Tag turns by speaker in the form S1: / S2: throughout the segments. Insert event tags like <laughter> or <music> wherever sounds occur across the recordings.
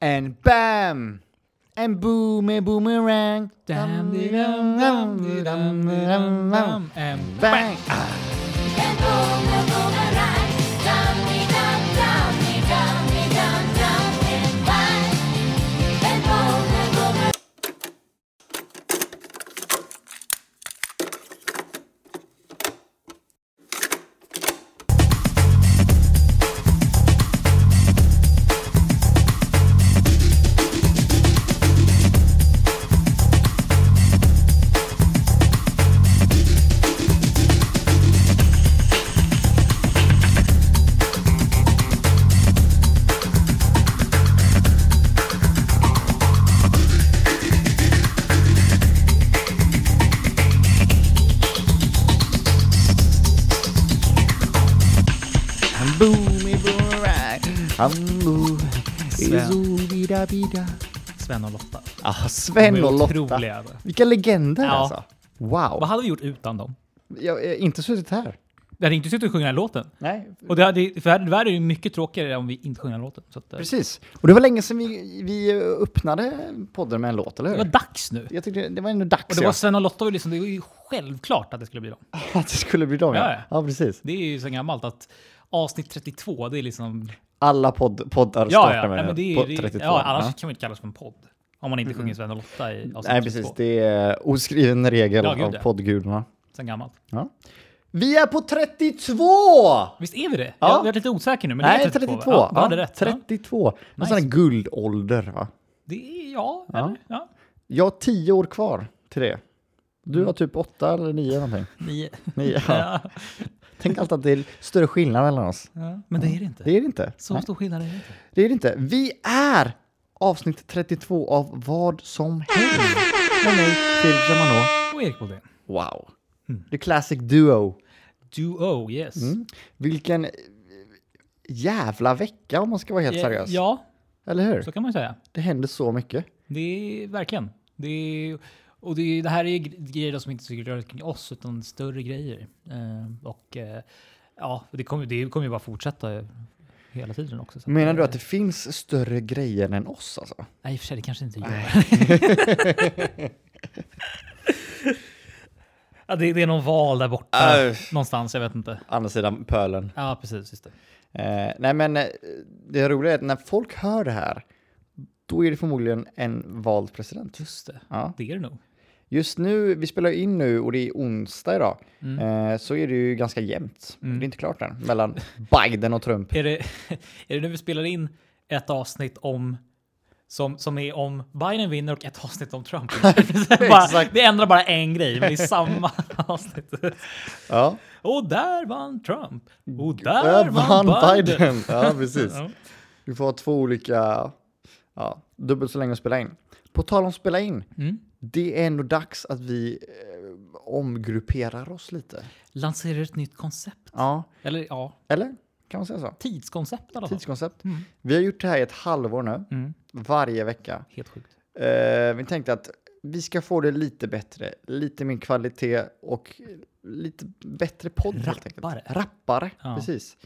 S1: And bam! And boom, a boomerang. Dam, di, dam, dam, di, dam, di, dam, dam.
S2: En-
S1: Bang!
S3: En boom, en boomerang. Dum-di-dum, dum-di-dum, di-dum-dum. En bang. En boom, en boomerang.
S1: And boom, a boomerang. And boom,
S2: Sven.
S1: izoo-bida-bida.
S2: Sven och Lotta.
S1: Ah, Sven och Lotta.
S2: otroliga.
S1: Vilka legender
S2: Ja.
S1: alltså.
S2: Vad
S1: Wow.
S2: hade vi gjort utan dem?
S1: Jag har inte suttit här.
S2: Vi hade inte suttit och sjungit den här låten.
S1: Nej,
S2: Och det hade, för det här är ju mycket tråkigare om vi inte sjunger den här låten. Så att, eh,
S1: precis. Och det var länge sedan vi, vi öppnade podden med en låt, eller
S2: det
S1: hur?
S2: var dags nu.
S1: jag tyckte det var ändå dags
S2: Och det var Sven och Lotta, och liksom, det var ju självklart att det skulle bli dem.
S1: ja, <laughs> att det skulle bli dem. Ja,
S2: Ja,
S1: ja precis.
S2: Det är ju så gammalt att avsnitt 32, det är liksom...
S1: Alla podd, poddar
S2: Ja,
S1: startar
S2: ja,
S1: med
S2: nej, men det
S1: på
S2: är, ju-
S1: 32.
S2: ja, annars kan man ju inte kallas för en podd. Om man inte sjunger Sven och Lotta i avsnitt
S1: Nej,
S2: 32.
S1: precis. Det är oskriven regel
S2: Ja, gud,
S1: av
S2: ja.
S1: poddgudarna.
S2: Sen gammalt.
S1: Ja. Vi är på 32!
S2: Visst är vi det?
S1: Ja.
S2: Jag har varit lite osäker nu, men det
S1: Nej,
S2: är
S1: 32.
S2: 32. Ja, du hade
S1: Ja,
S2: rätt.
S1: 32. En sån här guldålder, va?
S2: Ja. Det är, ja,
S1: Ja.
S2: eller? Ja.
S1: Jag har 10 år kvar till det. Du har typ 8 eller 9 någonting.
S2: <laughs> Nio.
S1: Nio. <laughs> Ja.
S2: Mm. Ja.
S1: Tänk alltid att det är större skillnad mellan oss.
S2: Ja. Men det är det inte.
S1: Det är det inte.
S2: Så
S1: Nej,
S2: stor skillnad är det inte.
S1: det är det inte. Vi är avsnitt 32 av Vad som helst. Med mig, Filip Germano.
S2: Och Erik Boldén.
S1: Wow.
S2: Mm.
S1: The classic duo.
S2: Duo, yes.
S1: Mm, Vilken eh, jävla vecka om man ska vara helt
S2: Eh,
S1: seriös.
S2: Ja,
S1: Eller hur?
S2: så kan man säga.
S1: Det händer så mycket.
S2: Det är verkligen. Det är, och det, är, det här är ju gre- grejer då som inte skulle röra kring oss, utan större grejer. Eh, och eh, ja, det kommer det kommer ju bara fortsätta hela tiden också. Så
S1: Menar du att det finns större grejer än oss alltså?
S2: Nej, i och för sig, det kanske inte gör. <laughs> ja, det, det är någon val där borta.
S1: Äh.
S2: Någonstans, jag vet inte.
S1: Andra sidan pölen.
S2: Ja, precis. Just det.
S1: Eh, nej men eh, det roliga är att när folk hör det här, då är det förmodligen en vald president.
S2: Just det.
S1: Ja.
S2: Det är det nog.
S1: Just nu, vi spelar ju in nu och det är onsdag idag,
S2: Mm.
S1: eh, så är det ju ganska jämnt. Det är inte klart än, mellan <laughs> Biden och Trump.
S2: Är det, <laughs> är det nu vi spelar in ett avsnitt om som, som är om Biden vinner och ett avsnitt om Trump
S1: <laughs>
S2: vinner? bara,
S1: Exakt.
S2: det ändrar bara en grej, men det är samma <laughs> avsnitt.
S1: Ja.
S2: Och där vann Trump. Och där
S1: Där
S2: vann Biden.
S1: Ja, precis.
S2: <laughs> Ja.
S1: Vi får ha två olika, ja, dubbelt så länge att spela in. På tal om spela in,
S2: Mm.
S1: det är ändå dags att vi eh, omgrupperar oss lite.
S2: Lanserar ett nytt koncept.
S1: Ja,
S2: Eller ja,
S1: eller? Kan man säga så?
S2: tidskoncept i alla fall.
S1: Tidskoncept. Vi har gjort det här i ett halvår nu,
S2: Mm.
S1: varje vecka.
S2: Helt sjukt.
S1: Eh, vi tänkte att vi ska få det lite bättre, lite mer kvalitet och lite bättre podd. helt enkelt.
S2: Rappare.
S1: Rappare,
S2: Ja.
S1: precis.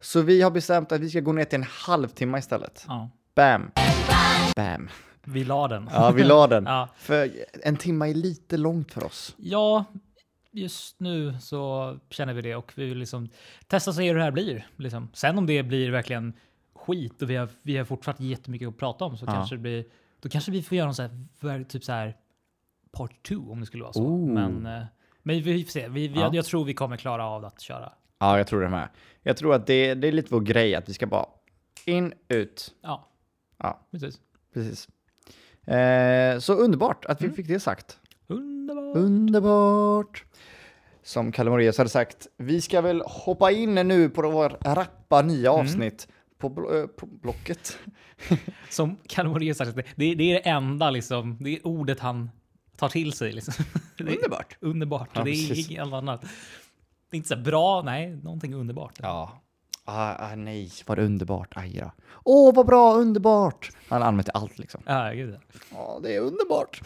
S1: Så vi har bestämt att vi ska gå ner till en halvtimme istället.
S2: Ja,
S1: Bam! Bam!
S2: vi la den.
S1: Ja,
S2: <laughs>
S1: vi la den.
S2: Ja.
S1: För en timme är lite långt för oss.
S2: Ja, just nu så känner vi det och vi vill liksom testa och se hur det här blir. Liksom. Sen om det blir verkligen skit och vi har, vi har fortfartt jättemycket att prata om så
S1: Ja.
S2: kanske det blir, då kanske vi får göra någon så här, ver- typ så här part two om det skulle vara så.
S1: Ooh.
S2: Men, eh, men vi får se. Vi, vi,
S1: Ja.
S2: Jag tror vi kommer klara av att köra.
S1: Ja, jag tror det med. Jag tror att det, det är lite vår grej att vi ska bara in, ut.
S2: Ja,
S1: Ja,
S2: precis.
S1: precis. Eh, så underbart att vi fick det sagt.
S2: Underbart.
S1: Mm. Underbart! Som Kalle Moraeus hade sagt, vi ska väl hoppa in nu på vår rappa nya avsnitt på, bl- eh, på Blocket.
S2: Som Kalle Moraeus har sagt, det, det är det enda liksom, det är ordet han tar till sig. Liksom. <laughs> Det är-
S1: Underbart!
S2: Underbart.
S1: Ja,
S2: det
S1: precis.
S2: är inget annat. Det är inte så här bra, nej, någonting underbart.
S1: Ja. Ah, ah, nej, vad underbart. Aj då. Åh, vad bra, underbart! Han använder till allt liksom.
S2: Ja, gud.
S1: Ja, det är underbart.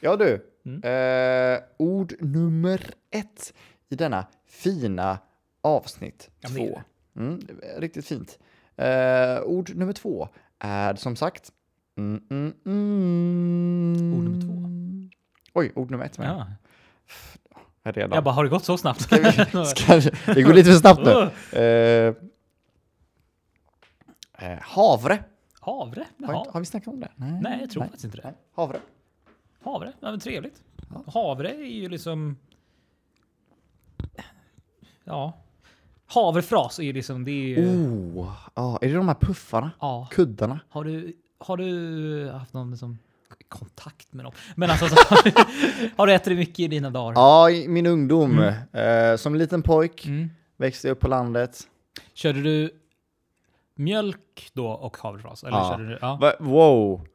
S1: ja du,
S2: Mm.
S1: eh, ord nummer ett i denna fina avsnitt
S2: Ja, men det är
S1: två. Mm, riktigt fint. Eh, ord nummer två är som sagt... Mm, mm, mm.
S2: Ord nummer två.
S1: Oj, ord nummer ett. Ja.
S2: Ja.
S1: Här redan.
S2: Jag bara, har det gått så snabbt? <laughs>
S1: Ska <laughs> vi, ska vi, det går lite för snabbt nu.
S2: Oh.
S1: Eh, eh, havre.
S2: Havre?
S1: Har,
S2: Jaha.
S1: inte- har vi snackat om det?
S2: Nej, jag tror faktiskt inte det.
S1: Nej. Havre.
S2: Havre? Ja, men trevligt.
S1: Ja.
S2: Havre är ju liksom... Ja. Havrefras är ju liksom... Det är ju...
S1: Oh, ja, är det de här puffarna?
S2: Ja.
S1: Kuddarna?
S2: Har du, har du haft någon liksom kontakt med dem?
S1: <laughs>
S2: Men alltså, så, <laughs> har du ätit det mycket i dina dagar?
S1: Ja, i min ungdom. Eh, som liten pojk
S2: Mm.
S1: växte jag upp på landet.
S2: Körde du mjölk då och havrefras? Eller
S1: Ja.
S2: körde du... Ja.
S1: Va- Wow!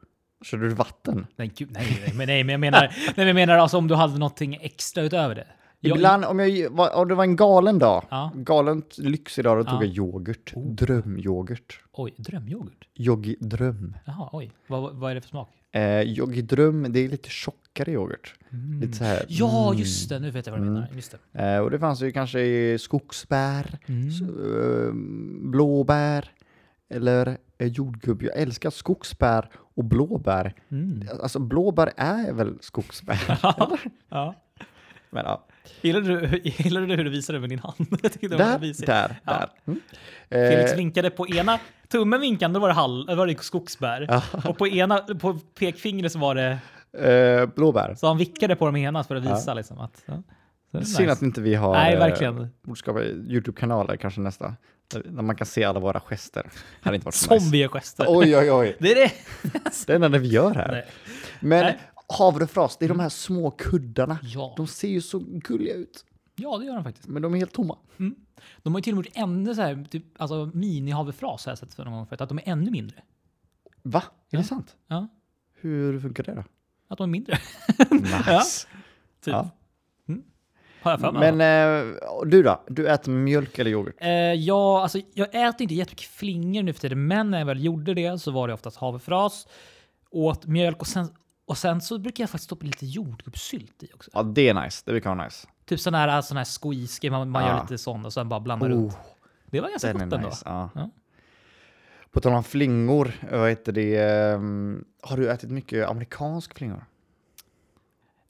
S1: Körde du vatten?
S2: Nej, gud, nej, nej, men, nej, men
S1: <laughs>
S2: jag menar, nej, men jag menar alltså om du hade någonting extra utöver det. Jag-
S1: Ibland, om, jag, var- om det var en galen dag,
S2: Ja.
S1: galent lyxig dag, då tog
S2: Ja. Oh.
S1: jag yoghurt. Drömyoghurt.
S2: Oj, drömyoghurt?
S1: Yogi dröm.
S2: Jaha, oj. Vad, vad är det för smak?
S1: Eh, yogi dröm, det är lite tjockare yoghurt. Lite så här.
S2: Mm. Ja, just det. Nu vet jag vad du menar. Just det.
S1: Eh, och det fanns ju kanske i skogsbär,
S2: Mm.
S1: s- eh, blåbär eller eh, jordgubb. Jag älskar skogsbär och blåbär.
S2: Mm.
S1: Alltså blåbär är väl skogsbär?
S2: <laughs>
S1: <laughs>
S2: Ja.
S1: Men, ja.
S2: Gillade, du, <laughs> gillade du hur du visade med din hand? <laughs> Jag tyckte det var
S1: Där,
S2: visigt.
S1: där,
S2: Ja.
S1: där. Mm.
S2: Felix
S1: Eh,
S2: vinkade på ena tummen vinkade, då var det, hall, då var det skogsbär. Och på ena på pekfingret så var det...
S1: eh, blåbär.
S2: Så han vickade på dem ena för att visa liksom att... Ja. Så det är
S1: Synd
S2: nice.
S1: att inte vi har
S2: Nej,
S1: eh,
S2: verkligen.
S1: ordskapare- YouTube-kanaler kanske nästa. Där där man kan se alla våra gester. Hade inte varit så nice.
S2: Som vi gör gester.
S1: Oj, oj, oj.
S2: Det är det.
S1: Det är det enda vi gör här.
S2: Nej.
S1: Men
S2: Nej.
S1: havrefras, det är de här små kuddarna.
S2: Ja.
S1: De ser ju så gulliga ut,
S2: ja, det gör han faktiskt.
S1: men de är helt tomma.
S2: De har ju till och med gjort ännu så här, typ, alltså mini-havrefras har jag sett för någon gång förut, att de är ännu mindre.
S1: Va? Är det sant?
S2: Ja,
S1: Hur funkar det då?
S2: att de är mindre.
S1: Nice.
S2: <laughs> typ.
S1: Ja.
S2: Mm. Har jag för mig.
S1: Men eh, du då? Du äter mjölk eller yoghurt?
S2: Eh, ja, alltså, jag äter inte jättemycket flingor nu för tiden, men när jag väl gjorde det så var det oftast havrefras, åt mjölk och sen, och sen så brukar jag faktiskt stoppa lite jordgubbssylt i också.
S1: Ja, det är nice. Det brukar vara nice.
S2: Typ sån här, sån här squeeze man, man
S1: Ja.
S2: gör lite sån och sen bara blandar runt.
S1: Oh,
S2: Det var ganska
S1: den
S2: gott
S1: är
S2: ändå.
S1: nice. Ja.
S2: Ja.
S1: På tal om flingor, eh, vad heter det? ehm, har du ätit mycket amerikansk flingor?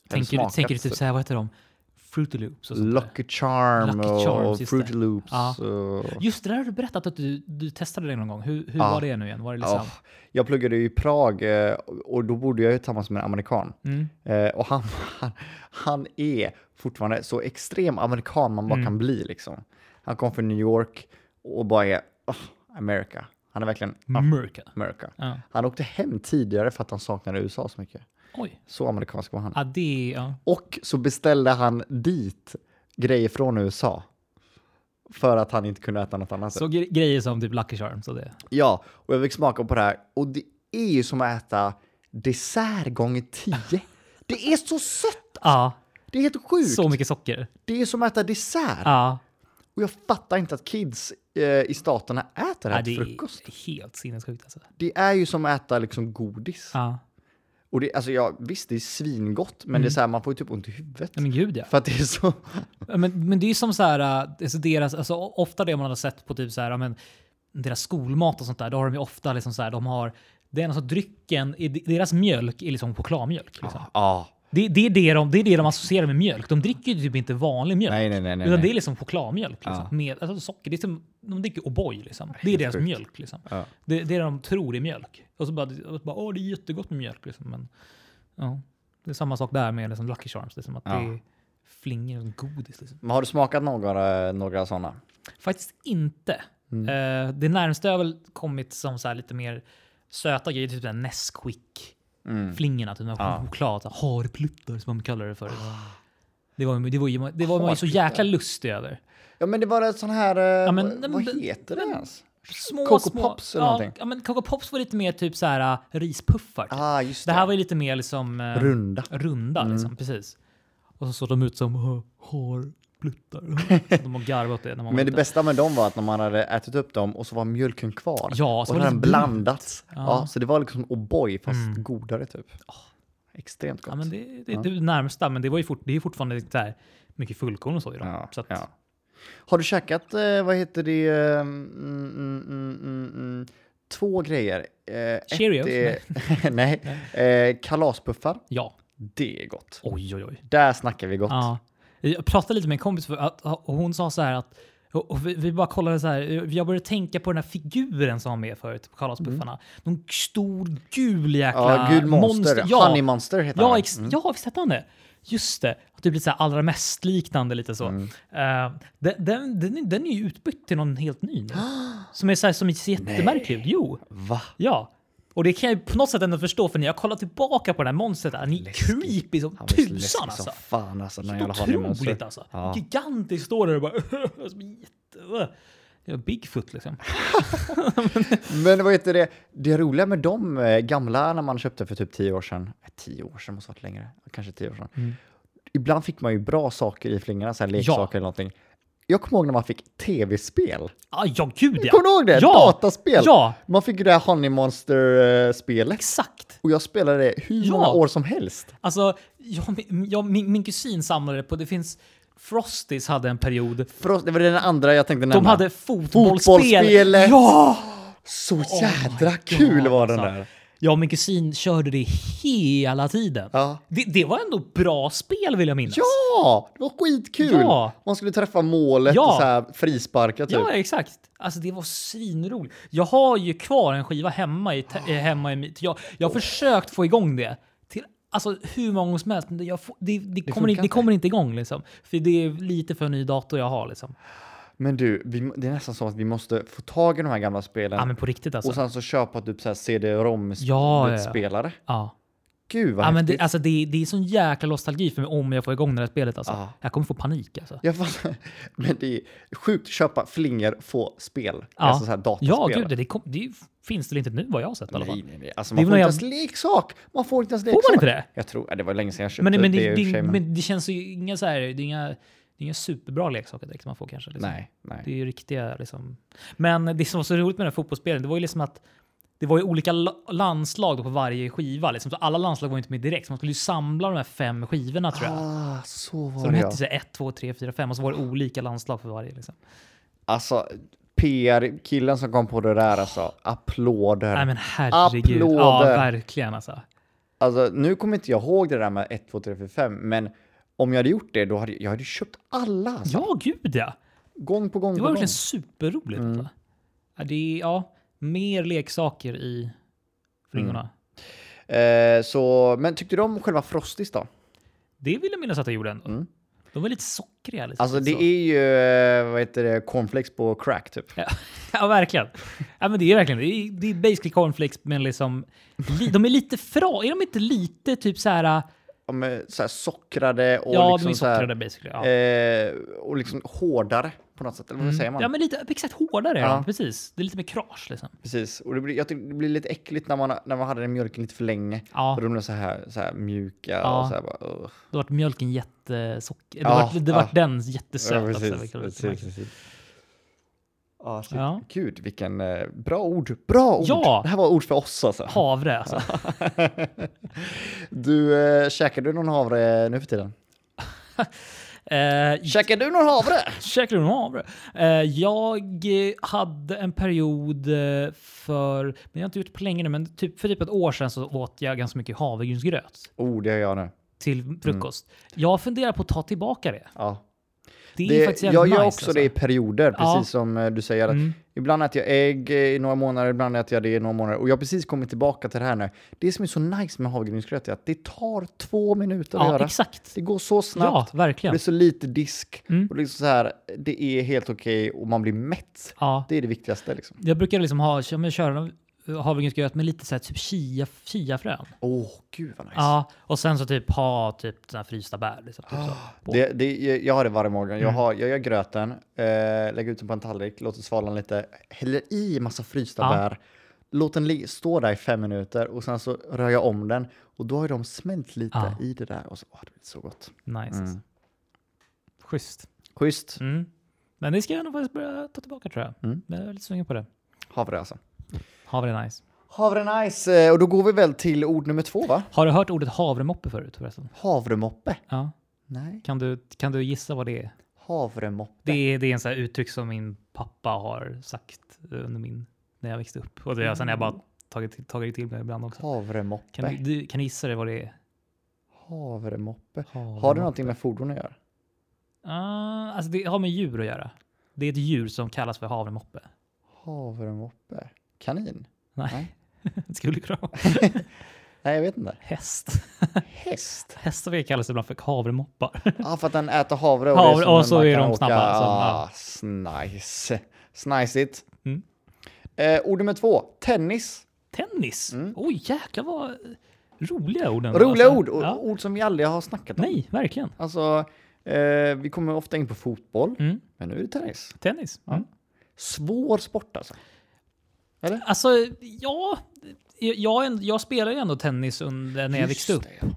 S2: Tänker, du-
S1: smakat
S2: tänker du
S1: så.
S2: typ så här, vad heter de? Fruity Loops och sånt där.
S1: Lucky Charm
S2: Lucky
S1: och
S2: Charms, just
S1: Fruity
S2: det.
S1: Loops.
S2: Ja.
S1: Och...
S2: Just det där har du berättat att du, du testade det någon gång. Hur, hur
S1: Ja.
S2: var det nu igen? Var det
S1: Ja,
S2: liksom?
S1: jag pluggade ju i Prag eh, och då bodde jag ju tillsammans med en amerikan.
S2: Mm.
S1: Eh, Och han, <laughs> han, han är fortfarande så extrem amerikan man bara
S2: Mm.
S1: kan bli liksom. Han kom från New York och bara är "Åh, America. Han är verkligen "Ah,
S2: Mörka.
S1: America.
S2: Ja.
S1: Han åkte hem tidigare för att han saknade USA så mycket.
S2: Oj.
S1: Så amerikansk var han.
S2: Ja, det är... Ja.
S1: Och så beställde han dit grejer från USA. För att han inte kunde äta något annat.
S2: Så gre- grejer som typ Lucky Charms och det.
S1: Ja, och jag fick smaka på det här och det är ju som att äta dessert gånger tio. Det är så sött!
S2: Ja,
S1: Det är helt sjukt!
S2: så mycket socker.
S1: Det är som att äta dessert.
S2: Ja,
S1: Och jag fattar inte att kids eh, i staterna äter det
S2: ja
S1: här
S2: det
S1: till frukost.
S2: är helt sinnessjukt alltså.
S1: Det är ju som att äta liksom godis.
S2: Ja.
S1: Och det, alltså, jag, visst, det är svingott,
S2: Mm.
S1: men det är så här, man får ju typ ont i huvudet.
S2: Nej, men gud ja.
S1: För att det är så... <laughs>
S2: Men, men det är ju som så här, äh, alltså deras, alltså o- ofta det man har sett på typ så här, ja, men deras skolmat och sånt där, då har de ju ofta liksom så här, de har, det är alltså drycken, i- deras mjölk är liksom chokladmjölk. Liksom.
S1: Ja.
S2: Det, det, är det, de, det är det de associerar med mjölk. De dricker ju typ inte vanlig mjölk.
S1: Nej, nej, nej. nej,
S2: Utan det
S1: nej.
S2: är liksom chokladmjölk. Liksom,
S1: Ja.
S2: med, alltså socker. Det är som, de dricker O'boy. Liksom. Det är
S1: helt
S2: deras
S1: sjukt.
S2: mjölk. Liksom.
S1: Ja.
S2: Det, det är det de tror är mjölk. Och så bara, och så bara åh det är jättegott med mjölk. Liksom. Men, ja. Det är samma sak där med liksom, Lucky Charms. Liksom, att
S1: Ja.
S2: Det är flingor och godis. Liksom.
S1: Men har du smakat några, några sådana?
S2: Faktiskt inte.
S1: Mm.
S2: Eh, det närmaste har väl kommit som så här lite mer söta grejer, typ den här Nesquik. Flingorna, typ
S1: Mm. Ja. Ah.
S2: ja. choklad, så här harpluttar som man kallar det för. Det var, det var, ju- det var man ju så
S1: Harpluttar.
S2: jäkla lustig över.
S1: Ja, men det var ett sån här... Eh,
S2: men-
S1: vad,
S2: nej, men-
S1: vad heter det
S2: men-
S1: ens?
S2: små,
S1: Coco
S2: små,
S1: Pops eller
S2: ja,
S1: någonting?
S2: Ja, men Coco Pops var lite mer typ så här äh, rispuffar. Typ.
S1: Ah, just
S2: det
S1: det.
S2: här var ju lite mer liksom äh,
S1: Runda. Mm.
S2: runda liksom, precis. Och så såg de ut som "Hå,
S1: <laughs>
S2: harpluttar. Så de har garvat det när man var
S1: Men det
S2: liten.
S1: bästa med dem var att när man hade ätit upp dem och så var mjölken kvar.
S2: Ja, så
S1: och
S2: var
S1: så
S2: det
S1: hade den
S2: lite
S1: blandats. Ja. så det var liksom O'boy fast godare typ. Extremt gott.
S2: Ja, men det, det, det är det närmsta, men det var ju fort, det är fortfarande så här mycket fullkorn och så i dem.
S1: Ja,
S2: så att,
S1: ja. Har du käkat, eh, vad heter det, eh, mm, mm, mm, mm, mm, två grejer? Eh, ett
S2: Cheerios?
S1: är- <laughs> nej. Eh, kalaspuffar,
S2: Ja.
S1: det är gott.
S2: Oj, oj, oj.
S1: Där snackar vi gott.
S2: Ja. Jag pratade lite med en kompis för att, och hon sa så här att och och vi, vi bara kollade så här. Jag började tänka på den här figuren som var med förut på Karlspuffarna. Någon stor gul jäkla
S1: Mm. Ja, gul monster.
S2: Ja,
S1: Honey Monster Mm. heter
S2: ja,
S1: han.
S2: ex- ja visst hette han det? Just det. Att det blir så här allra mest liknande lite
S1: Mm.
S2: så. Eh, den, den, den, är- den är ju utbytt till någon helt
S1: <gasps>
S2: ny nu. Som är så här, som är jättemärklig. Jo.
S1: Va?
S2: Ja. Och det kan jag ju på något sätt ändå förstå för när jag kollar tillbaka på det här monstret, han är creepy
S1: Han
S2: som
S1: var så läskig
S2: tusan alltså.
S1: som fan alltså. Den jävla Honey
S2: Otroligt
S1: Monster.
S2: alltså.
S1: Ja.
S2: Gigantiskt står där och bara... <laughs> som en jätte, ja, Bigfoot liksom.
S1: Men vad heter det, det roliga med de eh, gamla när man köpte för typ 10 år sedan, eh, 10 år sedan måste ha varit längre, kanske 10 år sedan.
S2: Mm.
S1: Ibland fick man ju bra saker i flingorna, så här leksaker eller någonting. Jag kommer ihåg när man fick tv-spel.
S2: Ah, ja, gud ja.
S1: Kommer du ihåg det?
S2: Ja.
S1: Dataspel!
S2: Ja.
S1: Man fick ju det här Honey Monster-spelet.
S2: Exakt.
S1: Och jag spelade det hur
S2: Ja.
S1: många år som helst.
S2: Alltså, jag, jag, min, min kusin samlade på, det finns... Frosties hade en period.
S1: För oss, det var den andra jag tänkte nämna.
S2: De hade fotbollsspel.
S1: Fotbollsspelet.
S2: Ja! Oh
S1: Så
S2: my
S1: jädra
S2: God,
S1: eh, kul var den
S2: alltså.
S1: där.
S2: Ja, och min kusin körde det hela tiden.
S1: Ja.
S2: Det, det var ändå bra spel vill jag minnas.
S1: Ja, det var skitkul!
S2: Ja.
S1: Man skulle träffa målet
S2: Ja.
S1: och så här frisparka typ.
S2: Ja, exakt. Alltså det var svinroligt. Jag har ju kvar en skiva hemma i... te- eh, hemma i mitt- jag, jag har försökt få igång det till alltså, hur många gånger som helst, men det, jag, får- det, det, kommer, inte,
S1: funkar
S2: det kommer inte igång liksom. För det är lite för ny dator jag har liksom.
S1: Men du, vi, må- det är nästan så att vi måste få tag i de här gamla spelen
S2: Ja, men på riktigt alltså.
S1: och sen så köpa typ så här
S2: Ja, ja, ja.
S1: CD-ROM-spelare.
S2: ja.
S1: Gud vad
S2: ja, men
S1: häftigt.
S2: det, alltså, det, det är sån jäkla nostalgi för mig om jag får igång det här spelet alltså.
S1: Ja.
S2: Jag kommer få panik alltså.
S1: Jag fattar. <laughs> Men det är sjukt köpa flingor, få spel.
S2: Ja.
S1: Alltså så här dataspel.
S2: Ja, gud, det, det, kom, det finns väl inte nu vad jag har sett i alla fall.
S1: Nej, nej, nej. Alltså,
S2: Det är
S1: man
S2: väl
S1: får inte
S2: någon
S1: ens leksak! Man får inte ens
S2: man
S1: leksak.
S2: inte det?
S1: Jag tror, ja, det var länge sedan jag köpte
S2: Men, men,
S1: det, i
S2: det,
S1: och för
S2: det,
S1: sig, men-
S2: men det känns ju inga så här, det är inga, det är inga superbra leksaker direkt man får kanske. Liksom.
S1: Nej, nej.
S2: Det är ju riktiga liksom. Men det som var så roligt med den här fotbollsspelen, det var ju liksom att det var ju olika la- landslag då på varje skiva. Liksom. Så alla landslag var ju inte med direkt, så man skulle ju samla de här fem skivorna tror jag.
S1: Ah, så var
S2: så de
S1: det
S2: hette
S1: ja.
S2: så 1, 2, 3, 4, 5 och så var det olika landslag för varje. Liksom.
S1: Alltså, PR-killen som kom på det där alltså. Applåder.
S2: Nej men herregud. Ja,
S1: Applåder.
S2: verkligen alltså.
S1: Alltså, nu kommer inte jag ihåg det där med 1, 2, 3, 4, 5, men om jag hade gjort det, då hade jag hade köpt alla. Alltså.
S2: Ja, gud ja.
S1: Gång på gång
S2: Det
S1: på
S2: var
S1: gång.
S2: verkligen superroligt. Mm. Ja, det är, ja, mer leksaker i flingorna.
S1: Mm. Eh, så, men tyckte du om själva Frostis då?
S2: Det vill jag minnas att jag gjorde ändå. De var lite sockriga. Liksom.
S1: Mm. Alltså det
S2: Så.
S1: är ju, eh, vad heter det, cornflakes på crack typ.
S2: Ja, <laughs> ja verkligen. Ja, men det är verkligen det. Är, det är basically cornflakes, men liksom... Li, de är lite fra... Är de inte lite typ så här... äh,
S1: Ja, men så här sockrade och
S2: ja,
S1: liksom
S2: de är
S1: så här,
S2: sockrade basically. Ja. Mm.
S1: eh, och liksom hårdare på något sätt, eller vad säger man?
S2: ja, men lite exakt hårdare.
S1: Ja.
S2: Ja. Precis. Det är lite mer krasch liksom.
S1: Precis, och det blir, jag tycker det blir lite äckligt när man, när man hade den mjölken lite för länge.
S2: Ja.
S1: Och de blev så här, så här mjuka och
S2: Ja.
S1: så här bara, ugh.
S2: Då vart mjölken jättesocker...
S1: Ja,
S2: det vart, det
S1: ja.
S2: vart den jättesöt. alltså.
S1: Ja,
S2: också,
S1: precis,
S2: vilket var
S1: precis,
S2: lite märkligt.
S1: precis. Ja, shit.
S2: Ja.
S1: Gud, vilken eh, bra ord. Bra ord!
S2: Ja.
S1: Det här var ord för oss alltså.
S2: Havre alltså.
S1: Du, eh, käkar du någon havre nu för tiden?
S2: Mm. Eh,
S1: Käkar du någon havre?
S2: Käkar du någon havre? Eh, jag eh, hade en period eh, för, men jag har inte gjort det på länge nu, men typ, för typ ett år sedan så åt jag ganska mycket havregrynsgröt
S1: Oh, det gör jag nu. Mm.
S2: till frukost. Jag funderar på att ta tillbaka det.
S1: Ja.
S2: Det är
S1: Det,
S2: faktiskt jävligt
S1: jag gör
S2: nice,
S1: också
S2: alltså.
S1: det i perioder, precis
S2: Ja. Mm.
S1: som eh, du säger. Att Ibland äter jag ägg eh, i några månader, ibland äter jag det i några månader. Och jag har precis kommit tillbaka till det här nu. Det som är så nice med havregrynsgröt är att det tar två minuter att
S2: Ja,
S1: göra.
S2: exakt.
S1: Det går så snabbt.
S2: Ja, Mm. verkligen.
S1: Det är så lite disk. Och liksom så här, det är helt okej och man blir mätt.
S2: Ja.
S1: Det är det viktigaste. Liksom.
S2: Jag brukar liksom ha, ja, men köra havregrynsgröt med lite så här typ chia, chiafrön.
S1: Åh, gud vad nice.
S2: Ja, och sen så typ ha typ såna här frysta bär. Liksom, typ så. på.
S1: Ah, Det, det, jag- jag har det varje morgon.
S2: Mm.
S1: Jag, har, jag gör gröten, eh, lägger ut den på en tallrik, låter svalna lite, häller i massa frysta
S2: Ja.
S1: bär, låter den li- stå där i fem minuter och sen så rör jag om den och då har ju de smält lite
S2: Ja.
S1: i det där och så, åh, det blir så gott.
S2: Nice. alltså. Schysst.
S1: Mm. Schysst.
S2: Mm. Men det ska jag nog faktiskt börja ta tillbaka tror jag.
S1: Mm.
S2: Men jag är lite sugen på det.
S1: Havre alltså.
S2: Havre är nice.
S1: Havre nice. Eh, Och då går vi väl till ord nummer två va?
S2: Har du hört ordet havremoppe förut förresten?
S1: Havremoppe.
S2: Ja.
S1: Nej.
S2: Kan du, kan du gissa vad det är?
S1: Havremoppe.
S2: Det är, det är en sån här uttryck som min pappa har sagt under min, när jag växte upp. Och det har sen jag bara tagit, till- tagit till mig ibland också.
S1: Havremoppe.
S2: Kan du, du kan gissa det vad det är?
S1: Havremoppe. Har
S2: Havremoppe.
S1: det någonting med fordon att göra?
S2: Ah, alltså det har med djur att göra. Det är ett djur som kallas för havremoppe. <laughs>
S1: Havremoppe. Kanin?
S2: Nej, det skulle kunna vara
S1: Nej, jag vet inte.
S2: häst.
S1: Häst?
S2: <laughs> Hästar brukar kallas ibland för havremoppar. <laughs>
S1: Ja, ah, för att den äter havre och,
S2: Havre,
S1: det är som
S2: och så
S1: man
S2: är
S1: kan
S2: de
S1: åka.
S2: snabba, så, ja.
S1: Ah, snice. Snicigt.
S2: Mm.
S1: Eh, ord nummer två. Tennis.
S2: Tennis! Oj, jäklar vad roliga orden var.
S1: Mm. Roliga
S2: Alltså,
S1: ord. och-
S2: Ja.
S1: Ord som vi aldrig har snackat om.
S2: Nej, verkligen.
S1: Alltså, eh, vi kommer ofta in på fotboll,
S2: Mm.
S1: men nu är det tennis.
S2: Tennis. Mm.
S1: Svår sport alltså.
S2: Alltså, ja. Jag, jag, är en- jag spelade ju ändå tennis under, när jag
S1: Just
S2: växte upp
S1: det,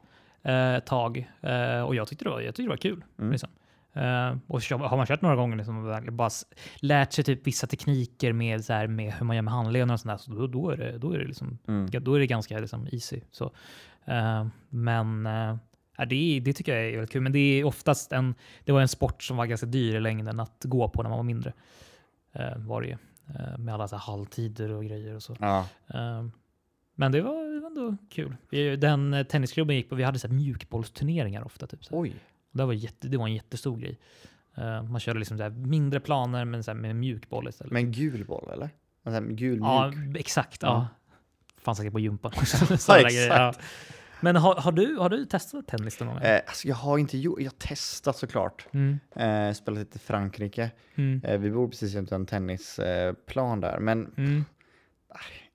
S1: ja.
S2: eh, ett tag. Eh, och jag tyckte det var, jag tyckte det var kul. Liksom. Eh, och kö- har man kört några gånger liksom, och verkligen bara s- lärt sig typ vissa tekniker med, så här, med hur man gör med handlederna och sånt där, så då, då, är det, då är det liksom, då är det ganska liksom, easy. Så, eh, men eh, ja, det, det tycker jag är väldigt kul. Men det är oftast en, det var en sport som var ganska dyr i längden att gå på när man var mindre. Eh, var det ju. Eh, med alla så här, halvtider och grejer och så.
S1: Ja.
S2: Ehm, Men det var det var ändå kul. Vi- Den eh, tennisklubben jag gick på, vi hade så här mjukbollsturneringar ofta. Typ, så här.
S1: Oj.
S2: Och Det, var jätte, det var en jättestor grej. Eh, Man körde liksom så här mindre planer men så här med mjukboll istället.
S1: Men gul boll eller? Alltså, gul
S2: ja,
S1: mjuk.
S2: exakt. Ja.
S1: Ja.
S2: Fanns säkert
S1: <laughs>
S2: på gympan också. Sådana
S1: exakt.
S2: grejer, ja. Men har, har, du, har du testat tennis någon gång?
S1: Eh, alltså, jag har inte gjort, jag har testat såklart.
S2: Mm.
S1: Eh, spelat lite i Frankrike.
S2: Mm.
S1: Eh, vi bor precis jämte en tennisplan eh, plan där. Men ah,
S2: Mm.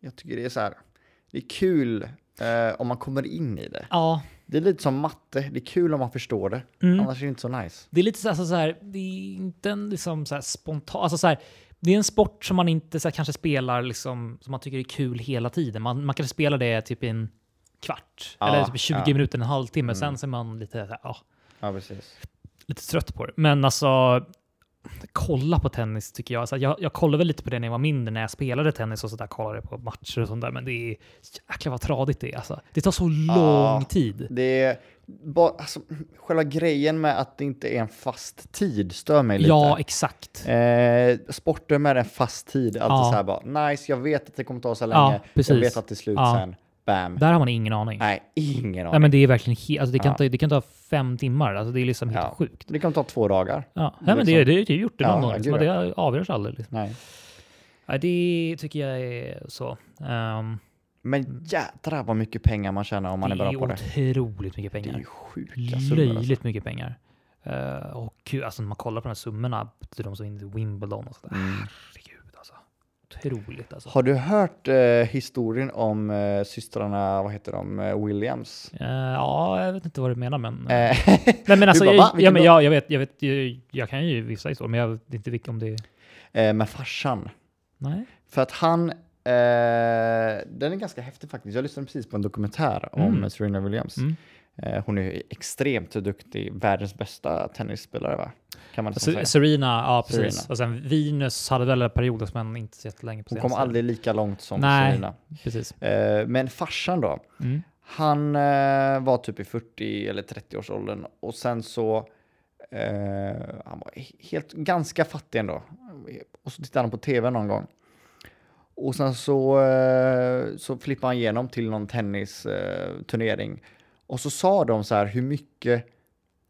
S1: jag tycker det är så här, det är kul eh, om man kommer in i det.
S2: Ja,
S1: Det är lite som matte, det är kul om man förstår det.
S2: Mm.
S1: Annars är det inte så nice.
S2: Det är lite så här, alltså så här det är inte en liksom så här spontan, alltså så här, det är en sport som man inte så här, kanske spelar liksom, som man tycker är kul hela tiden. Man, man kanske spelar det typ i en kvart,
S1: Ja,
S2: eller typ i 20
S1: ja. Mm.
S2: minuter, en halvtimme. Sen så är man lite, så här, ja,
S1: Ja, precis.
S2: lite trött på det. Men alltså, kolla på tennis tycker jag. Så här, jag. Jag kollade väl lite på det när jag var mindre, när jag spelade tennis och så där, kollade jag på matcher och sånt där. Men det är jäklar vad tradigt det är. Alltså. Det tar så lång
S1: Ja.
S2: tid.
S1: Det är bara, alltså, själva grejen med att det inte är en fast tid stör mig lite.
S2: Ja, exakt.
S1: Eh, sporter med en fast tid, alltid
S2: Ja.
S1: så här bara nice, jag vet att det kommer ta så här
S2: Ja,
S1: länge, jag
S2: precis.
S1: vet att det är slut
S2: Ja.
S1: sen, bam.
S2: Där har man ingen aning.
S1: Nej, ingen aning.
S2: Nej, men det är verkligen helt, alltså det, kan
S1: Ja.
S2: ta, det kan ta fem timmar. Alltså det är liksom helt
S1: Ja.
S2: sjukt.
S1: Det kan ta två dagar.
S2: Ja. Nej, men det,
S1: Liksom.
S2: det har ju typ gjort det
S1: Ja,
S2: någon gång.
S1: ja,
S2: Liksom.
S1: gud,
S2: Det avgörs aldrig. Liksom.
S1: Nej.
S2: Ja, det tycker jag är så. Ehm,
S1: Men jädrar vad mycket pengar man tjänar om man är
S2: det
S1: bra
S2: är
S1: på det.
S2: otroligt mycket
S1: Det är ju
S2: pengar.
S1: sjuka summor. Alltså.
S2: Löjligt mycket pengar. Eh, och gud, alltså när man kollar på de här summorna, till de som vinner Wimbledon och sådär.
S1: Mm.
S2: Herregud alltså. Otroligt alltså.
S1: Har du hört eh, historien om eh, systrarna, vad heter de, eh, Williams?
S2: Eh, ja, jag vet inte vad du menar men...
S1: Eh,
S2: Nej men alltså,
S1: bara, va?
S2: jag, ja,
S1: Vilken
S2: men
S1: då?
S2: jag, jag vet, jag vet, jag, jag kan ju vissa historier men jag vet inte vilka om det är...
S1: eh, <laughs> med farsan.
S2: Nej?
S1: För att han, eh, den är ganska häftig faktiskt. Jag lyssnade precis på en dokumentär om
S2: Mm.
S1: Serena Williams.
S2: Mm.
S1: Eh, hon är ju extremt duktig, världens bästa tennisspelare va? Kan man nästan
S2: Se-
S1: säga.
S2: Serena, ja precis.
S1: Serena.
S2: Och sen Venus hade väl perioder som man inte sett länge på
S1: Hon kom
S2: senaste.
S1: aldrig lika långt som
S2: alltså. Nej.
S1: Serena.
S2: Precis.
S1: Eh, men farsan då,
S2: Mm.
S1: han eh, var typ i 40 eller 30-årsåldern och sen så eh, han var he- helt, ganska fattig ändå. Och så tittade han på tv någon gång. Och sen så, eh, så flippade han igenom till någon tennisturnering. Och så sa de så här hur mycket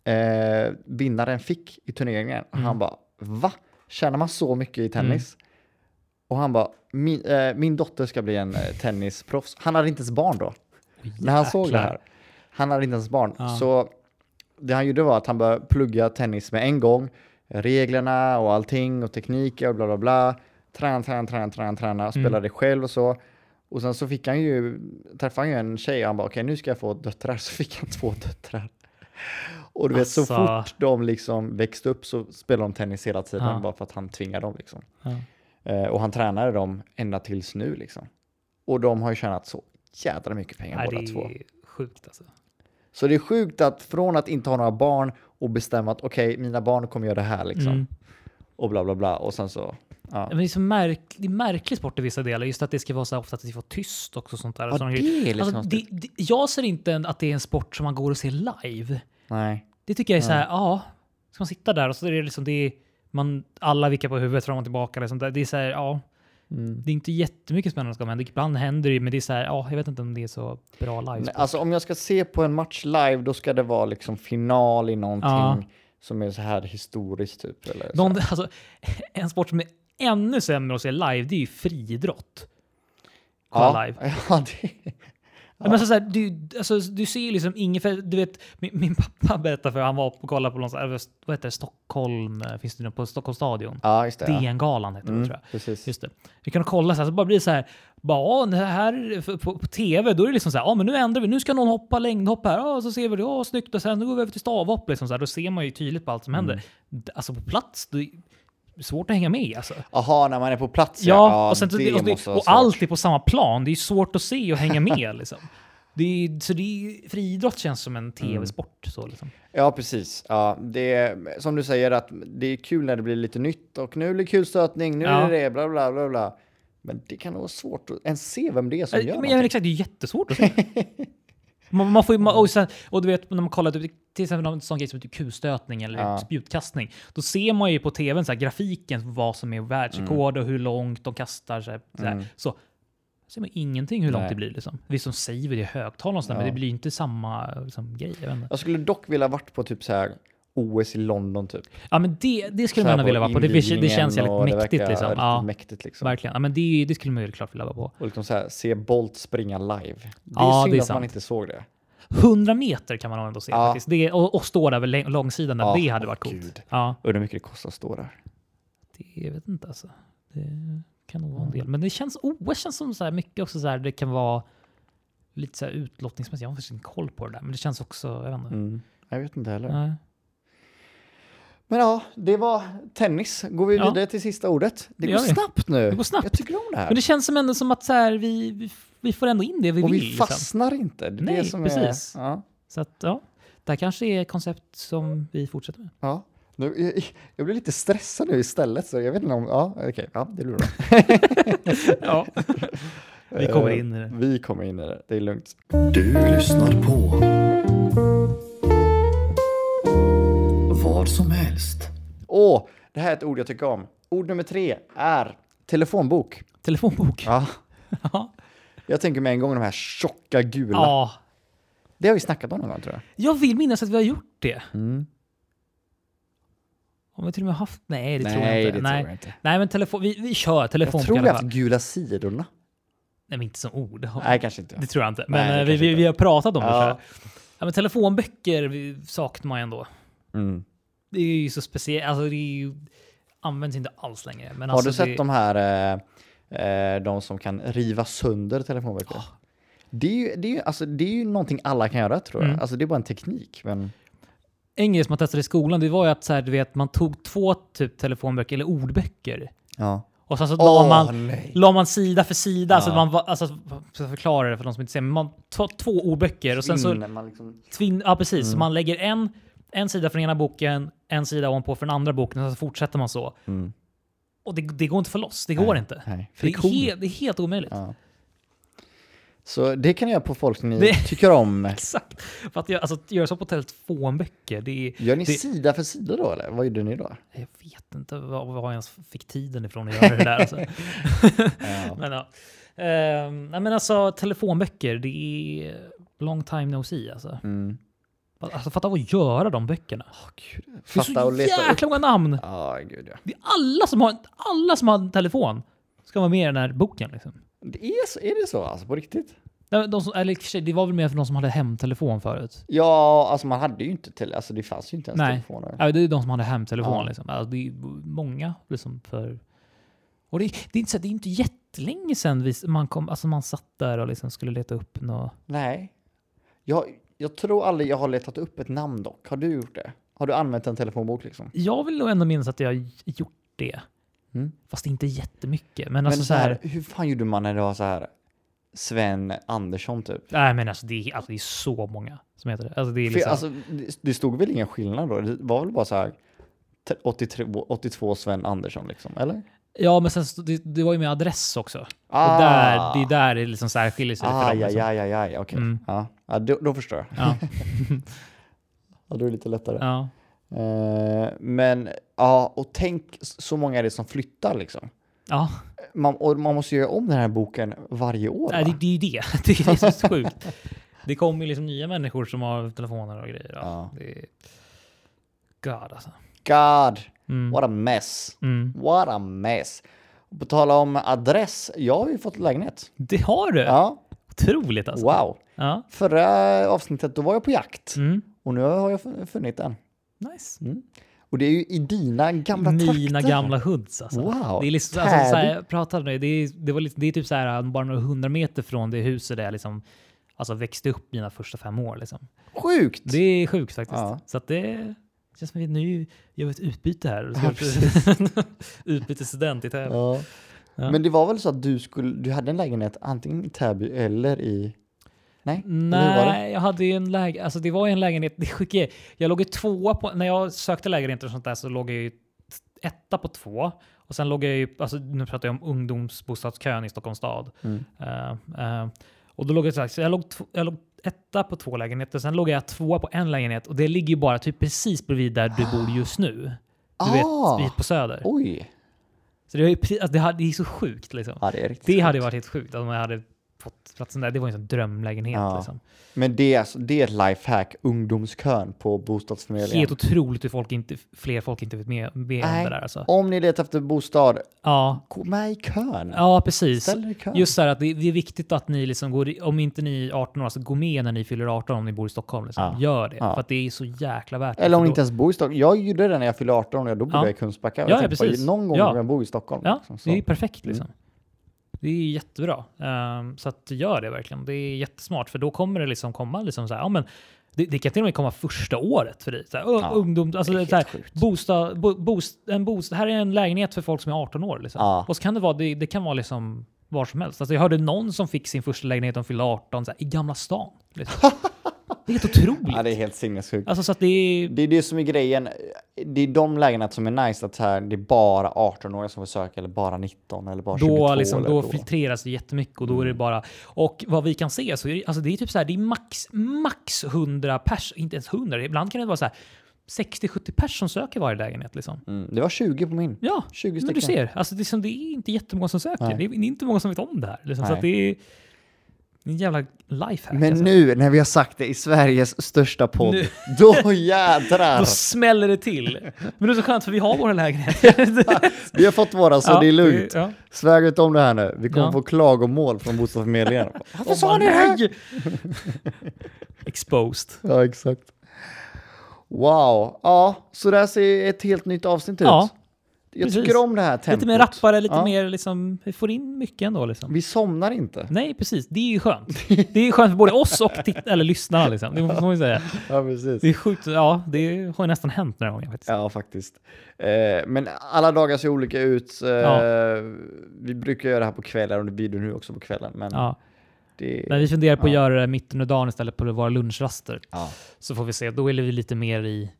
S1: eh, vinnaren fick i turneringen. Och han bara, va? Tjänar man så mycket i tennis? Och han bara, min, eh, min dotter ska bli en eh, tennisproffs. Han hade inte ens barn då. När han såg det här. Han hade inte ens barn.
S2: Ja.
S1: Så det han gjorde var att han började plugga tennis med en gång. Reglerna och allting och tekniker och bla bla bla. Träna, träna, träna, träna,
S2: Mm.
S1: träna. Spelade själv och så. Och sen så fick han ju, träffade han ju en tjej och han bara okej nu ska jag få döttrar. Så fick han två döttrar. Och du vet så
S2: Alltså.
S1: fort de liksom växte upp så spelade de tennis hela tiden
S2: Ja.
S1: bara för att han tvingade dem liksom.
S2: Ja.
S1: Eh, och han tränade dem ända tills nu liksom. Och de har ju tjänat så jädra mycket pengar
S2: Nej,
S1: båda
S2: det
S1: två.
S2: är sjukt alltså.
S1: Så det är sjukt att från att inte ha några barn och bestämma att okej, mina barn kommer göra det här liksom.
S2: Mm.
S1: Och bla bla bla. Och sen så, ja.
S2: Men det är så märk, det är märklig sport i vissa delar. Just att det ska vara så här, ofta att det får tyst också. och Sånt där.
S1: Ja,
S2: Sådana
S1: det
S2: grejer.
S1: är lite
S2: alltså, det,
S1: konstigt.
S2: det, jag ser inte en, att det är en sport som man går och ser live.
S1: Nej.
S2: Det tycker jag är så här, ja. ska man sitta där och så är det liksom det är, man, alla vickar på huvudet fram och tillbaka. Liksom. Det är så här, ja,
S1: Mm.
S2: det är inte jättemycket spännande som händer. Ibland händer det ju, men det är så här, ja, jag vet inte om det är så bra live.
S1: Nej, Alltså om jag ska se på en match live, då ska det vara liksom final i någonting
S2: Ja.
S1: som är så här historiskt typ. Eller så.
S2: Någon, alltså, <laughs> en sport som är ännu sämre att se live, det är ju friidrott.
S1: ja.
S2: Kolla live.
S1: <laughs> Ja, det...
S2: Ja. Men så så här, du, alltså, du ser ju liksom inget, för du vet, min, min pappa <laughs> berättade för han var och kollade på någon, sån här, vad heter det, Stockholm, eh, finns det något på Stockholms stadion?
S1: ja, just det. ja.
S2: DN-galan heter det
S1: Mm,
S2: tror jag.
S1: precis.
S2: Just det. Vi kan kolla så här, så bara blir det så här, bara, "Ja, det här för- på, på tv, då är det liksom så här, ja men nu ändrar vi, nu ska någon hoppa längdhopp här, ja så ser vi det, ja snyggt, och sen då går vi över till stavhopp, liksom så här, då ser man ju tydligt på allt som
S1: Mm.
S2: händer. D- Alltså på plats, det är svårt att hänga med alltså.
S1: Aha, när man är på plats
S2: Ja, och, sen, så det, och,
S1: måste
S2: det,
S1: vara
S2: och
S1: svårt.
S2: allt är på samma plan. Det är svårt att se och
S1: <laughs>
S2: hänga med. liksom. det är, så det är, friidrott känns som
S1: Mm.
S2: en tv-sport. Så, liksom.
S1: Ja, precis. Ja, det är, som du säger, att det är kul när det blir lite nytt och nu blir det kulstötning, nu
S2: Ja.
S1: är det det, bla bla bla bla. Men det kan nog vara svårt att ens se vem det är som
S2: Äh,
S1: gör
S2: men, ja, men
S1: någonting.
S2: exakt, det är jättesvårt
S1: <laughs>
S2: att se. man, man får ju, man, och, sen, och du vet, när man kollar typ, till exempel någon sån grej som typ kulstötning eller
S1: Ja.
S2: spjutkastning, då ser man ju på tvn så här, grafiken vad som är världsrekord
S1: Mm.
S2: och hur långt de kastar. Så, här, så, här. så ser man ingenting hur långt
S1: Nej.
S2: det blir. Liksom. Visst, de säger väl det i högtalarna, och sådär, men
S1: Ja.
S2: det blir ju inte samma liksom, grej. Jag vet inte.
S1: Jag skulle dock vilja varit på typ så här OS i London typ.
S2: Ja, men det, det skulle
S1: Så här
S2: man gärna vilja vara på. Det, det känns
S1: invigningen
S2: jävligt
S1: och det
S2: mäktigt.
S1: verkar
S2: liksom.
S1: riktigt
S2: Ja,
S1: mäktigt liksom.
S2: Verkligen. Ja, men det, det skulle man ju klart vilja vara på.
S1: Och liksom så här, se Bolt springa live. Det är
S2: Ja,
S1: synd
S2: det är
S1: att man
S2: sant.
S1: inte såg det.
S2: 100 meter kan man ändå se
S1: Ja.
S2: faktiskt. Det, och, och stå där vid läng- långsidan, där,
S1: Ja,
S2: det hade varit
S1: åh,
S2: coolt.
S1: gud.
S2: Ja,
S1: Undrar hur mycket det kostar att stå där.
S2: det jag vet inte alltså. Det kan nog
S1: Mm.
S2: vara en del. Men det känns, OS känns som så här mycket också så här, det kan vara lite så här utlottningsmässigt. Jag har faktiskt inte koll på det där, men det känns också, jag vet inte.
S1: Mm. Jag vet inte heller.
S2: Nej.
S1: Men ja, det var tennis. Går vi
S2: Ja.
S1: vidare till sista ordet? Det
S2: Det
S1: går
S2: gör vi.
S1: snabbt nu.
S2: Det går snabbt.
S1: Jag tycker om det här.
S2: Men det känns som ändå som att så här, vi, vi, vi får ändå in det vi
S1: och
S2: vill.
S1: vi
S2: liksom.
S1: fastnar inte. Det är
S2: Nej,
S1: det som
S2: precis.
S1: Är, ja,
S2: Så att, ja, det här kanske är ett koncept som vi fortsätter med.
S1: ja. Nu, jag, jag blir lite stressad nu istället, så jag vet inte om... Ja, okej. Ja, det
S2: <laughs>
S1: blir bra. <laughs>
S2: Ja. Vi kommer
S1: Eh,
S2: in i det.
S1: Vi kommer in i det. Det är lugnt.
S4: Du lyssnar på vad som helst.
S1: Åh, det här är ett ord jag tycker om. Ord nummer tre är telefonbok.
S2: Telefonbok.
S1: Ja.
S2: Ja.
S1: Jag tänker med en gång de här tjocka gula.
S2: ja.
S1: Det har vi snackat om någon gång tror jag.
S2: Jag vill minnas att vi har gjort det.
S1: Mm.
S2: Om vi till och med haft... Nej, det
S1: Nej,
S2: tror jag inte.
S1: det
S2: Nej.
S1: tror jag inte.
S2: Nej, men telefon... Vi, vi kör
S1: Jag
S2: telefonbok
S1: tror
S2: i
S1: vi har
S2: alla
S1: haft
S2: fall.
S1: gula sidorna.
S2: Nej, men inte som ord.
S1: Nej, kanske inte.
S2: Det tror jag inte.
S1: Nej,
S2: Men
S1: det
S2: eh, vi,
S1: kanske
S2: vi,
S1: inte.
S2: vi har pratat om det.
S1: Ja.
S2: tror jag. Ja, men telefonböcker vi- saknar man ju ändå.
S1: Mm.
S2: Det är ju så speciellt. Alltså, det är ju... används inte alls längre. Men
S1: Har
S2: alltså,
S1: du sett
S2: det...
S1: de här, eh, eh, de som kan riva sönder telefonböcker? Det är, ju, det, är ju, alltså, det är ju någonting alla kan göra tror jag.
S2: Mm.
S1: Alltså det är bara en teknik. Men
S2: En grej som man testade i skolan, det var ju att så här, du vet, man tog två typ telefonböcker eller ordböcker.
S1: ja.
S2: Och sen så la
S1: Åh,
S2: man,
S1: nej.
S2: la man sida för sida, så att man va- alltså, så förklarar det för de som inte ser, men man tar två ordböcker och sen så
S1: Vinner man liksom,
S2: tvin, ja, precis, så man lägger en, en sida från ena boken, en sida ovanpå från den andra boken och så fortsätter man så.
S1: Mm.
S2: Och det, det går inte för loss, det går inte.
S1: nej.
S2: För det, är
S1: Friktion.
S2: helt, det är helt omöjligt.
S1: Ja. Så det kan jag göra på folk som ni
S2: Det-
S1: tycker om.
S2: Exakt. För att jag, alltså, att göra så på telefonböcker, det är...
S1: Gör ni
S2: det,
S1: sida för sida då eller? Vad gjorde ni då?
S2: Jag vet inte var, var jag ens fick tiden ifrån att göra det där.
S1: <laughs>
S2: Alltså. <laughs> men, ja. Ehm, nej, men alltså telefonböcker, det är long time no see alltså.
S1: Mm.
S2: Alltså fatta vad göra de böckerna. Det är
S1: Fatta och
S2: så
S1: leta upp.
S2: jäkla många namn.
S1: Ja, gud ja.
S2: Det är alla som har, alla som har en telefon ska vara med i den här boken. Liksom.
S1: Det är, så, är det så alltså på riktigt?
S2: De, de som, eller i och för sig, det var väl mer för de som hade hemtelefon förut.
S1: Ja, alltså man hade ju inte tele, alltså det fanns ju inte ens
S2: Nej,
S1: telefoner.
S2: ja, det är de som hade hemtelefon.
S1: Ja.
S2: Liksom. Alltså, det är många liksom, för... Och det, det, är inte, så- det är inte jättelänge sedan vi, man, kom, alltså, man satt där och liksom skulle leta upp något.
S1: Nej. Jag, jag tror aldrig jag har letat upp ett namn dock. Har du gjort det? Har du använt en telefonbok liksom?
S2: Jag vill nog ändå minnas att jag har gjort det.
S1: Mm.
S2: Fast inte jättemycket. Men,
S1: Men
S2: alltså så här...
S1: hur fan gjorde man när det var så här Sven Andersson typ?
S2: Nej men alltså det, är, alltså det är så många som heter det. Alltså det är
S1: För,
S2: liksom...
S1: alltså, det- det stod väl ingen skillnad då? Det var väl bara så här t- 83, 82 Sven Andersson liksom, eller?
S2: Ja, men sen, stod- det, det var ju med adress också.
S1: Ah.
S2: Och där, det är där det liksom så här skiljer sig. lite för dem,
S1: Aj, aj,
S2: liksom.
S1: aj, aj, aj, okej.
S2: Mm.
S1: Ja, ja då, då förstår jag.
S2: Ja,
S1: Ja, då är det lite lättare.
S2: ja.
S1: Eh, men ja, och tänk s- så många är det som flyttar liksom.
S2: Ja,
S1: Man, och man måste göra om den här boken varje år.
S2: nej,
S1: va?
S2: det, det är ju det. Det <laughs> är det så sjukt. Det kommer ju liksom nya människor som har telefoner och grejer. Ja.
S1: Ja.
S2: Det är... God alltså.
S1: God,
S2: Mm.
S1: what a mess.
S2: Mm.
S1: What a mess. Och På tala om adress, jag har ju fått lägenhet.
S2: Det har du!
S1: Ja,
S2: Otroligt alltså.
S1: wow.
S2: Ja.
S1: Förra avsnittet, då var jag på jakt.
S2: Mm.
S1: Och nu har jag fun- funnit den.
S2: Nice.
S1: Och det är ju i dina gamla
S2: Mina
S1: trakter.
S2: gamla hoods alltså.
S1: Wow,
S2: Det är liksom, alltså, så här,
S1: härligt.
S2: jag pratade med dig, det, är- det, var lite, det är typ så här, bara några hundra meter från det huset där jag liksom, alltså, växte upp mina första fem år. Liksom.
S1: Sjukt!
S2: Det är sjukt faktiskt.
S1: Ja.
S2: Så att det känns som att vi nu gör vi ett utbyte här.
S1: Ja,
S2: <laughs> Utbytesstudent i Täby.
S1: Ja.
S2: Ja.
S1: Men det var väl så att du, skulle, du hade en lägenhet antingen i Täby eller i... Nej? Eller hur var det?
S2: Nej, jag hade ju en lägenhet. Alltså det var ju en lägenhet. <laughs> Det sjuka är, jag låg i tvåa på, när jag sökte lägenheter och sånt där så låg jag ju t- etta på två. Och sen låg jag ju, alltså nu pratar jag om ungdomsbostadskön i Stockholms stad.
S1: Mm.
S2: Eh, eh, och då låg jag, så här- så jag, låg tw- jag låg etta på två lägenheter, sen låg jag tvåa på en lägenhet och det ligger ju bara typ precis bredvid där du bor just nu. Du
S1: Ah.
S2: vet, vid på Söder.
S1: Oj!
S2: Så det, var ju precis, alltså det, hade, det är så sjukt liksom.
S1: Ja, det är riktigt
S2: Det
S1: Ah, sjukt.
S2: hade ju varit helt sjukt om jag hade fått platsen där. Det var ju en sån drömlägenhet
S1: Ja.
S2: liksom.
S1: Men det är, alltså, det är ett lifehack, ungdomskön på bostadsförmedlingen.
S2: Helt otroligt hur folk inte, fler folk inte vet med, med om
S1: Nej.
S2: det där alltså.
S1: Om ni letar efter bostad,
S2: Ja,
S1: gå med i kön.
S2: ja precis.
S1: Ställ er i kön.
S2: Just så här att det, det är viktigt att ni liksom går, i- om inte ni är 18 år, alltså gå med när ni fyller 18 om ni bor i Stockholm. Liksom.
S1: Ja.
S2: Gör det,
S1: Ja.
S2: för att det är så jäkla värt det.
S1: Eller om
S2: För
S1: ni
S2: då-
S1: inte ens bor i Stockholm. Jag gjorde det när jag fyllde 18 och jag- då bodde
S2: Ja.
S1: jag i Kungsbacka.
S2: Ja,
S1: Jag
S2: ja,
S1: tänkte bara,
S2: precis.
S1: Någon gång
S2: Ja.
S1: kommer jag bo i Stockholm.
S2: Ja,
S1: liksom, så.
S2: det är ju perfekt liksom. Det är jättebra. Ehm, så att gör det verkligen. Det är jättesmart för då kommer det liksom komma liksom så här, ja men det, det kan till och med komma första året för dig. Så här, ö-
S1: Ja,
S2: ungdom, alltså
S1: det är
S2: det är så här,
S1: helt sjukt.
S2: bostad, bo, bost, en bostad, här är en lägenhet för folk som är 18 år. Liksom.
S1: Ja.
S2: Och så kan det vara, det, det kan vara liksom var som helst. Alltså jag hörde någon som fick sin första lägenhet, de fyllde 18, så här, i Gamla stan. Liksom.
S1: <laughs>
S2: det är helt otroligt.
S1: ja, det är helt sinnessjukt.
S2: Alltså så att det är,
S1: Det är det som är grejen. Det är de lägena som är nice att här, det är bara 18-åringar som får söka eller bara 19 eller bara 22.
S2: då, liksom,
S1: eller Mm.
S2: då filtreras det jättemycket och då är det bara... Och vad vi kan se så är det, alltså det är typ så här, det är max, max 100 pers, inte ens 100, ibland kan det vara så här 60-70 pers som söker varje lägenhet liksom.
S1: mm, det var 20 på min.
S2: Ja,
S1: 20
S2: men
S1: stycken.
S2: du ser, alltså det, är som, det är inte jättemånga som söker.
S1: Nej.
S2: Det är, det är inte många som vet om det här. Liksom, så
S1: Nej.
S2: att det är det är en jävla lifehack.
S1: Men
S2: alltså.
S1: nu när vi har sagt det i Sveriges största podd, <laughs> då jädrar!
S2: <laughs> Då smäller
S1: <laughs>
S2: det till. Men det är så skönt för vi har våra <laughs> lägenheter.
S1: Vi har fått våra så
S2: Ja,
S1: det är lugnt.
S2: ja.
S1: Sväg ut om det här nu. Vi kommer
S2: Ja.
S1: få klagomål från bostadsförmedlingen. Varför
S2: Åh,
S1: sa ni det här?
S2: nej! Exposed.
S1: Ja, exakt. Wow. Ja, så där ser ett helt nytt avsnitt ut.
S2: Ja,
S1: Jag
S2: precis.
S1: tycker om det här tempot.
S2: Lite mer rappare, lite
S1: Ja.
S2: mer liksom, vi får in mycket ändå liksom.
S1: Vi somnar inte.
S2: Nej, precis. Det är ju skönt. Det är ju skönt för både oss och titt- eller lyssnarna liksom. Det får man ju säga.
S1: Ja, precis.
S2: Det är sjukt. Ja, det har ju nästan hänt några gånger faktiskt.
S1: Ja, faktiskt. Eh, men alla dagar ser olika ut. Eh,
S2: Ja.
S1: Vi brukar göra det här på kvällar och det blir det nu också på kvällen. Men
S2: Ja.
S1: det...
S2: Men vi funderar på att
S1: Ja.
S2: göra det mitt under dagen istället på våra lunchraster.
S1: Ja.
S2: Så får vi se. Då är vi lite mer i...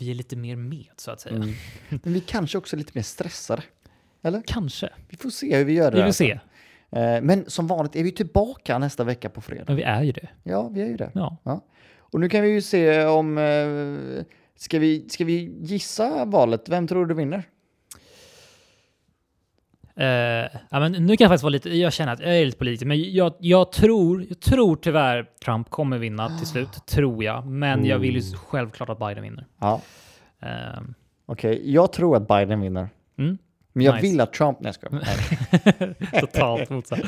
S2: Vi är lite mer med, så att säga.
S1: Mm. men vi kanske också är lite mer stressade. Eller?
S2: Kanske.
S1: Vi får se hur vi gör det.
S2: Vi
S1: här.
S2: vill se.
S1: Eh, men som vanligt är vi tillbaka nästa vecka på fredag.
S2: Men vi är ju det.
S1: Ja, vi är ju det.
S2: Ja.
S1: Ja. Och nu kan vi ju se om... Eh, ska, vi, ska vi gissa valet? Vem tror du vinner?
S2: Eh, ja, men nu kan jag faktiskt vara lite, jag känner att jag är lite politisk, men jag, jag, tror, jag tror tyvärr Trump kommer vinna
S1: Ah.
S2: till slut, tror jag. Men jag vill
S1: Mm.
S2: ju självklart att Biden vinner.
S1: Ja.
S2: Eh,
S1: Okej, jag tror att Biden vinner.
S2: Mm.
S1: Men jag
S2: Nice.
S1: vill att Trump... Nej, jag
S2: <laughs>
S1: skojar. Nej.
S2: totalt motsatt.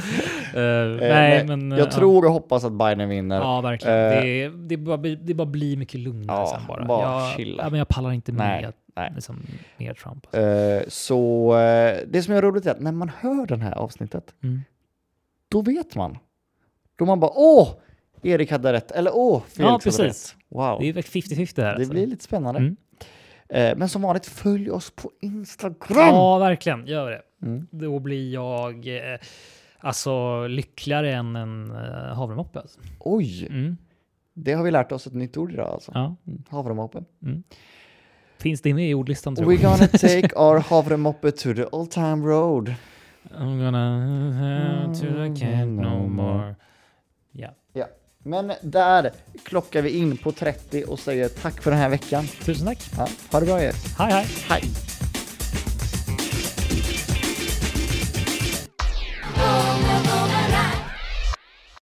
S2: Eh,
S1: Eh,
S2: nej, men... eh,
S1: jag tror och hoppas att Biden
S2: Ja,
S1: vinner.
S2: ja verkligen.
S1: Eh,
S2: det, det, bara, blir- det bara blir mycket lugnare
S1: Ja,
S2: sen bara.
S1: bara
S2: jag,
S1: chilla.
S2: Ja, men jag pallar inte
S1: Nej,
S2: med,
S1: nej.
S2: liksom, med Trump. Alltså.
S1: Eh, så eh, det som är roligt är att när man hör det här avsnittet,
S2: Mm.
S1: då vet man. Då man bara åh, Erik hade rätt. Eller åh, Felix
S2: Ja,
S1: hade
S2: precis.
S1: rätt. Wow.
S2: Det är väl 50-50 här.
S1: liksom Det blir lite spännande.
S2: Mm.
S1: Eh, Men som vanligt, följ oss på Instagram!
S2: Ja, verkligen. Gör det.
S1: Mm.
S2: Då blir jag eh, alltså lyckligare än en eh, havremoppe. Alltså.
S1: Oj,
S2: Mm.
S1: det har vi lärt oss ett nytt ord idag alltså.
S2: Ja.
S1: Mm, Havremoppe.
S2: Finns det med i ordlistan tror
S1: We're
S2: jag? <laughs>
S1: gonna take our havremoppe to the old time road. Mm.
S2: I'm gonna have to I can't no more. Ja.
S1: Ja. Men där klockar vi in på 30 och säger tack för den här veckan.
S2: Tusen tack.
S1: Ja, ha det bra er.
S2: Hej, hej.
S1: Hej!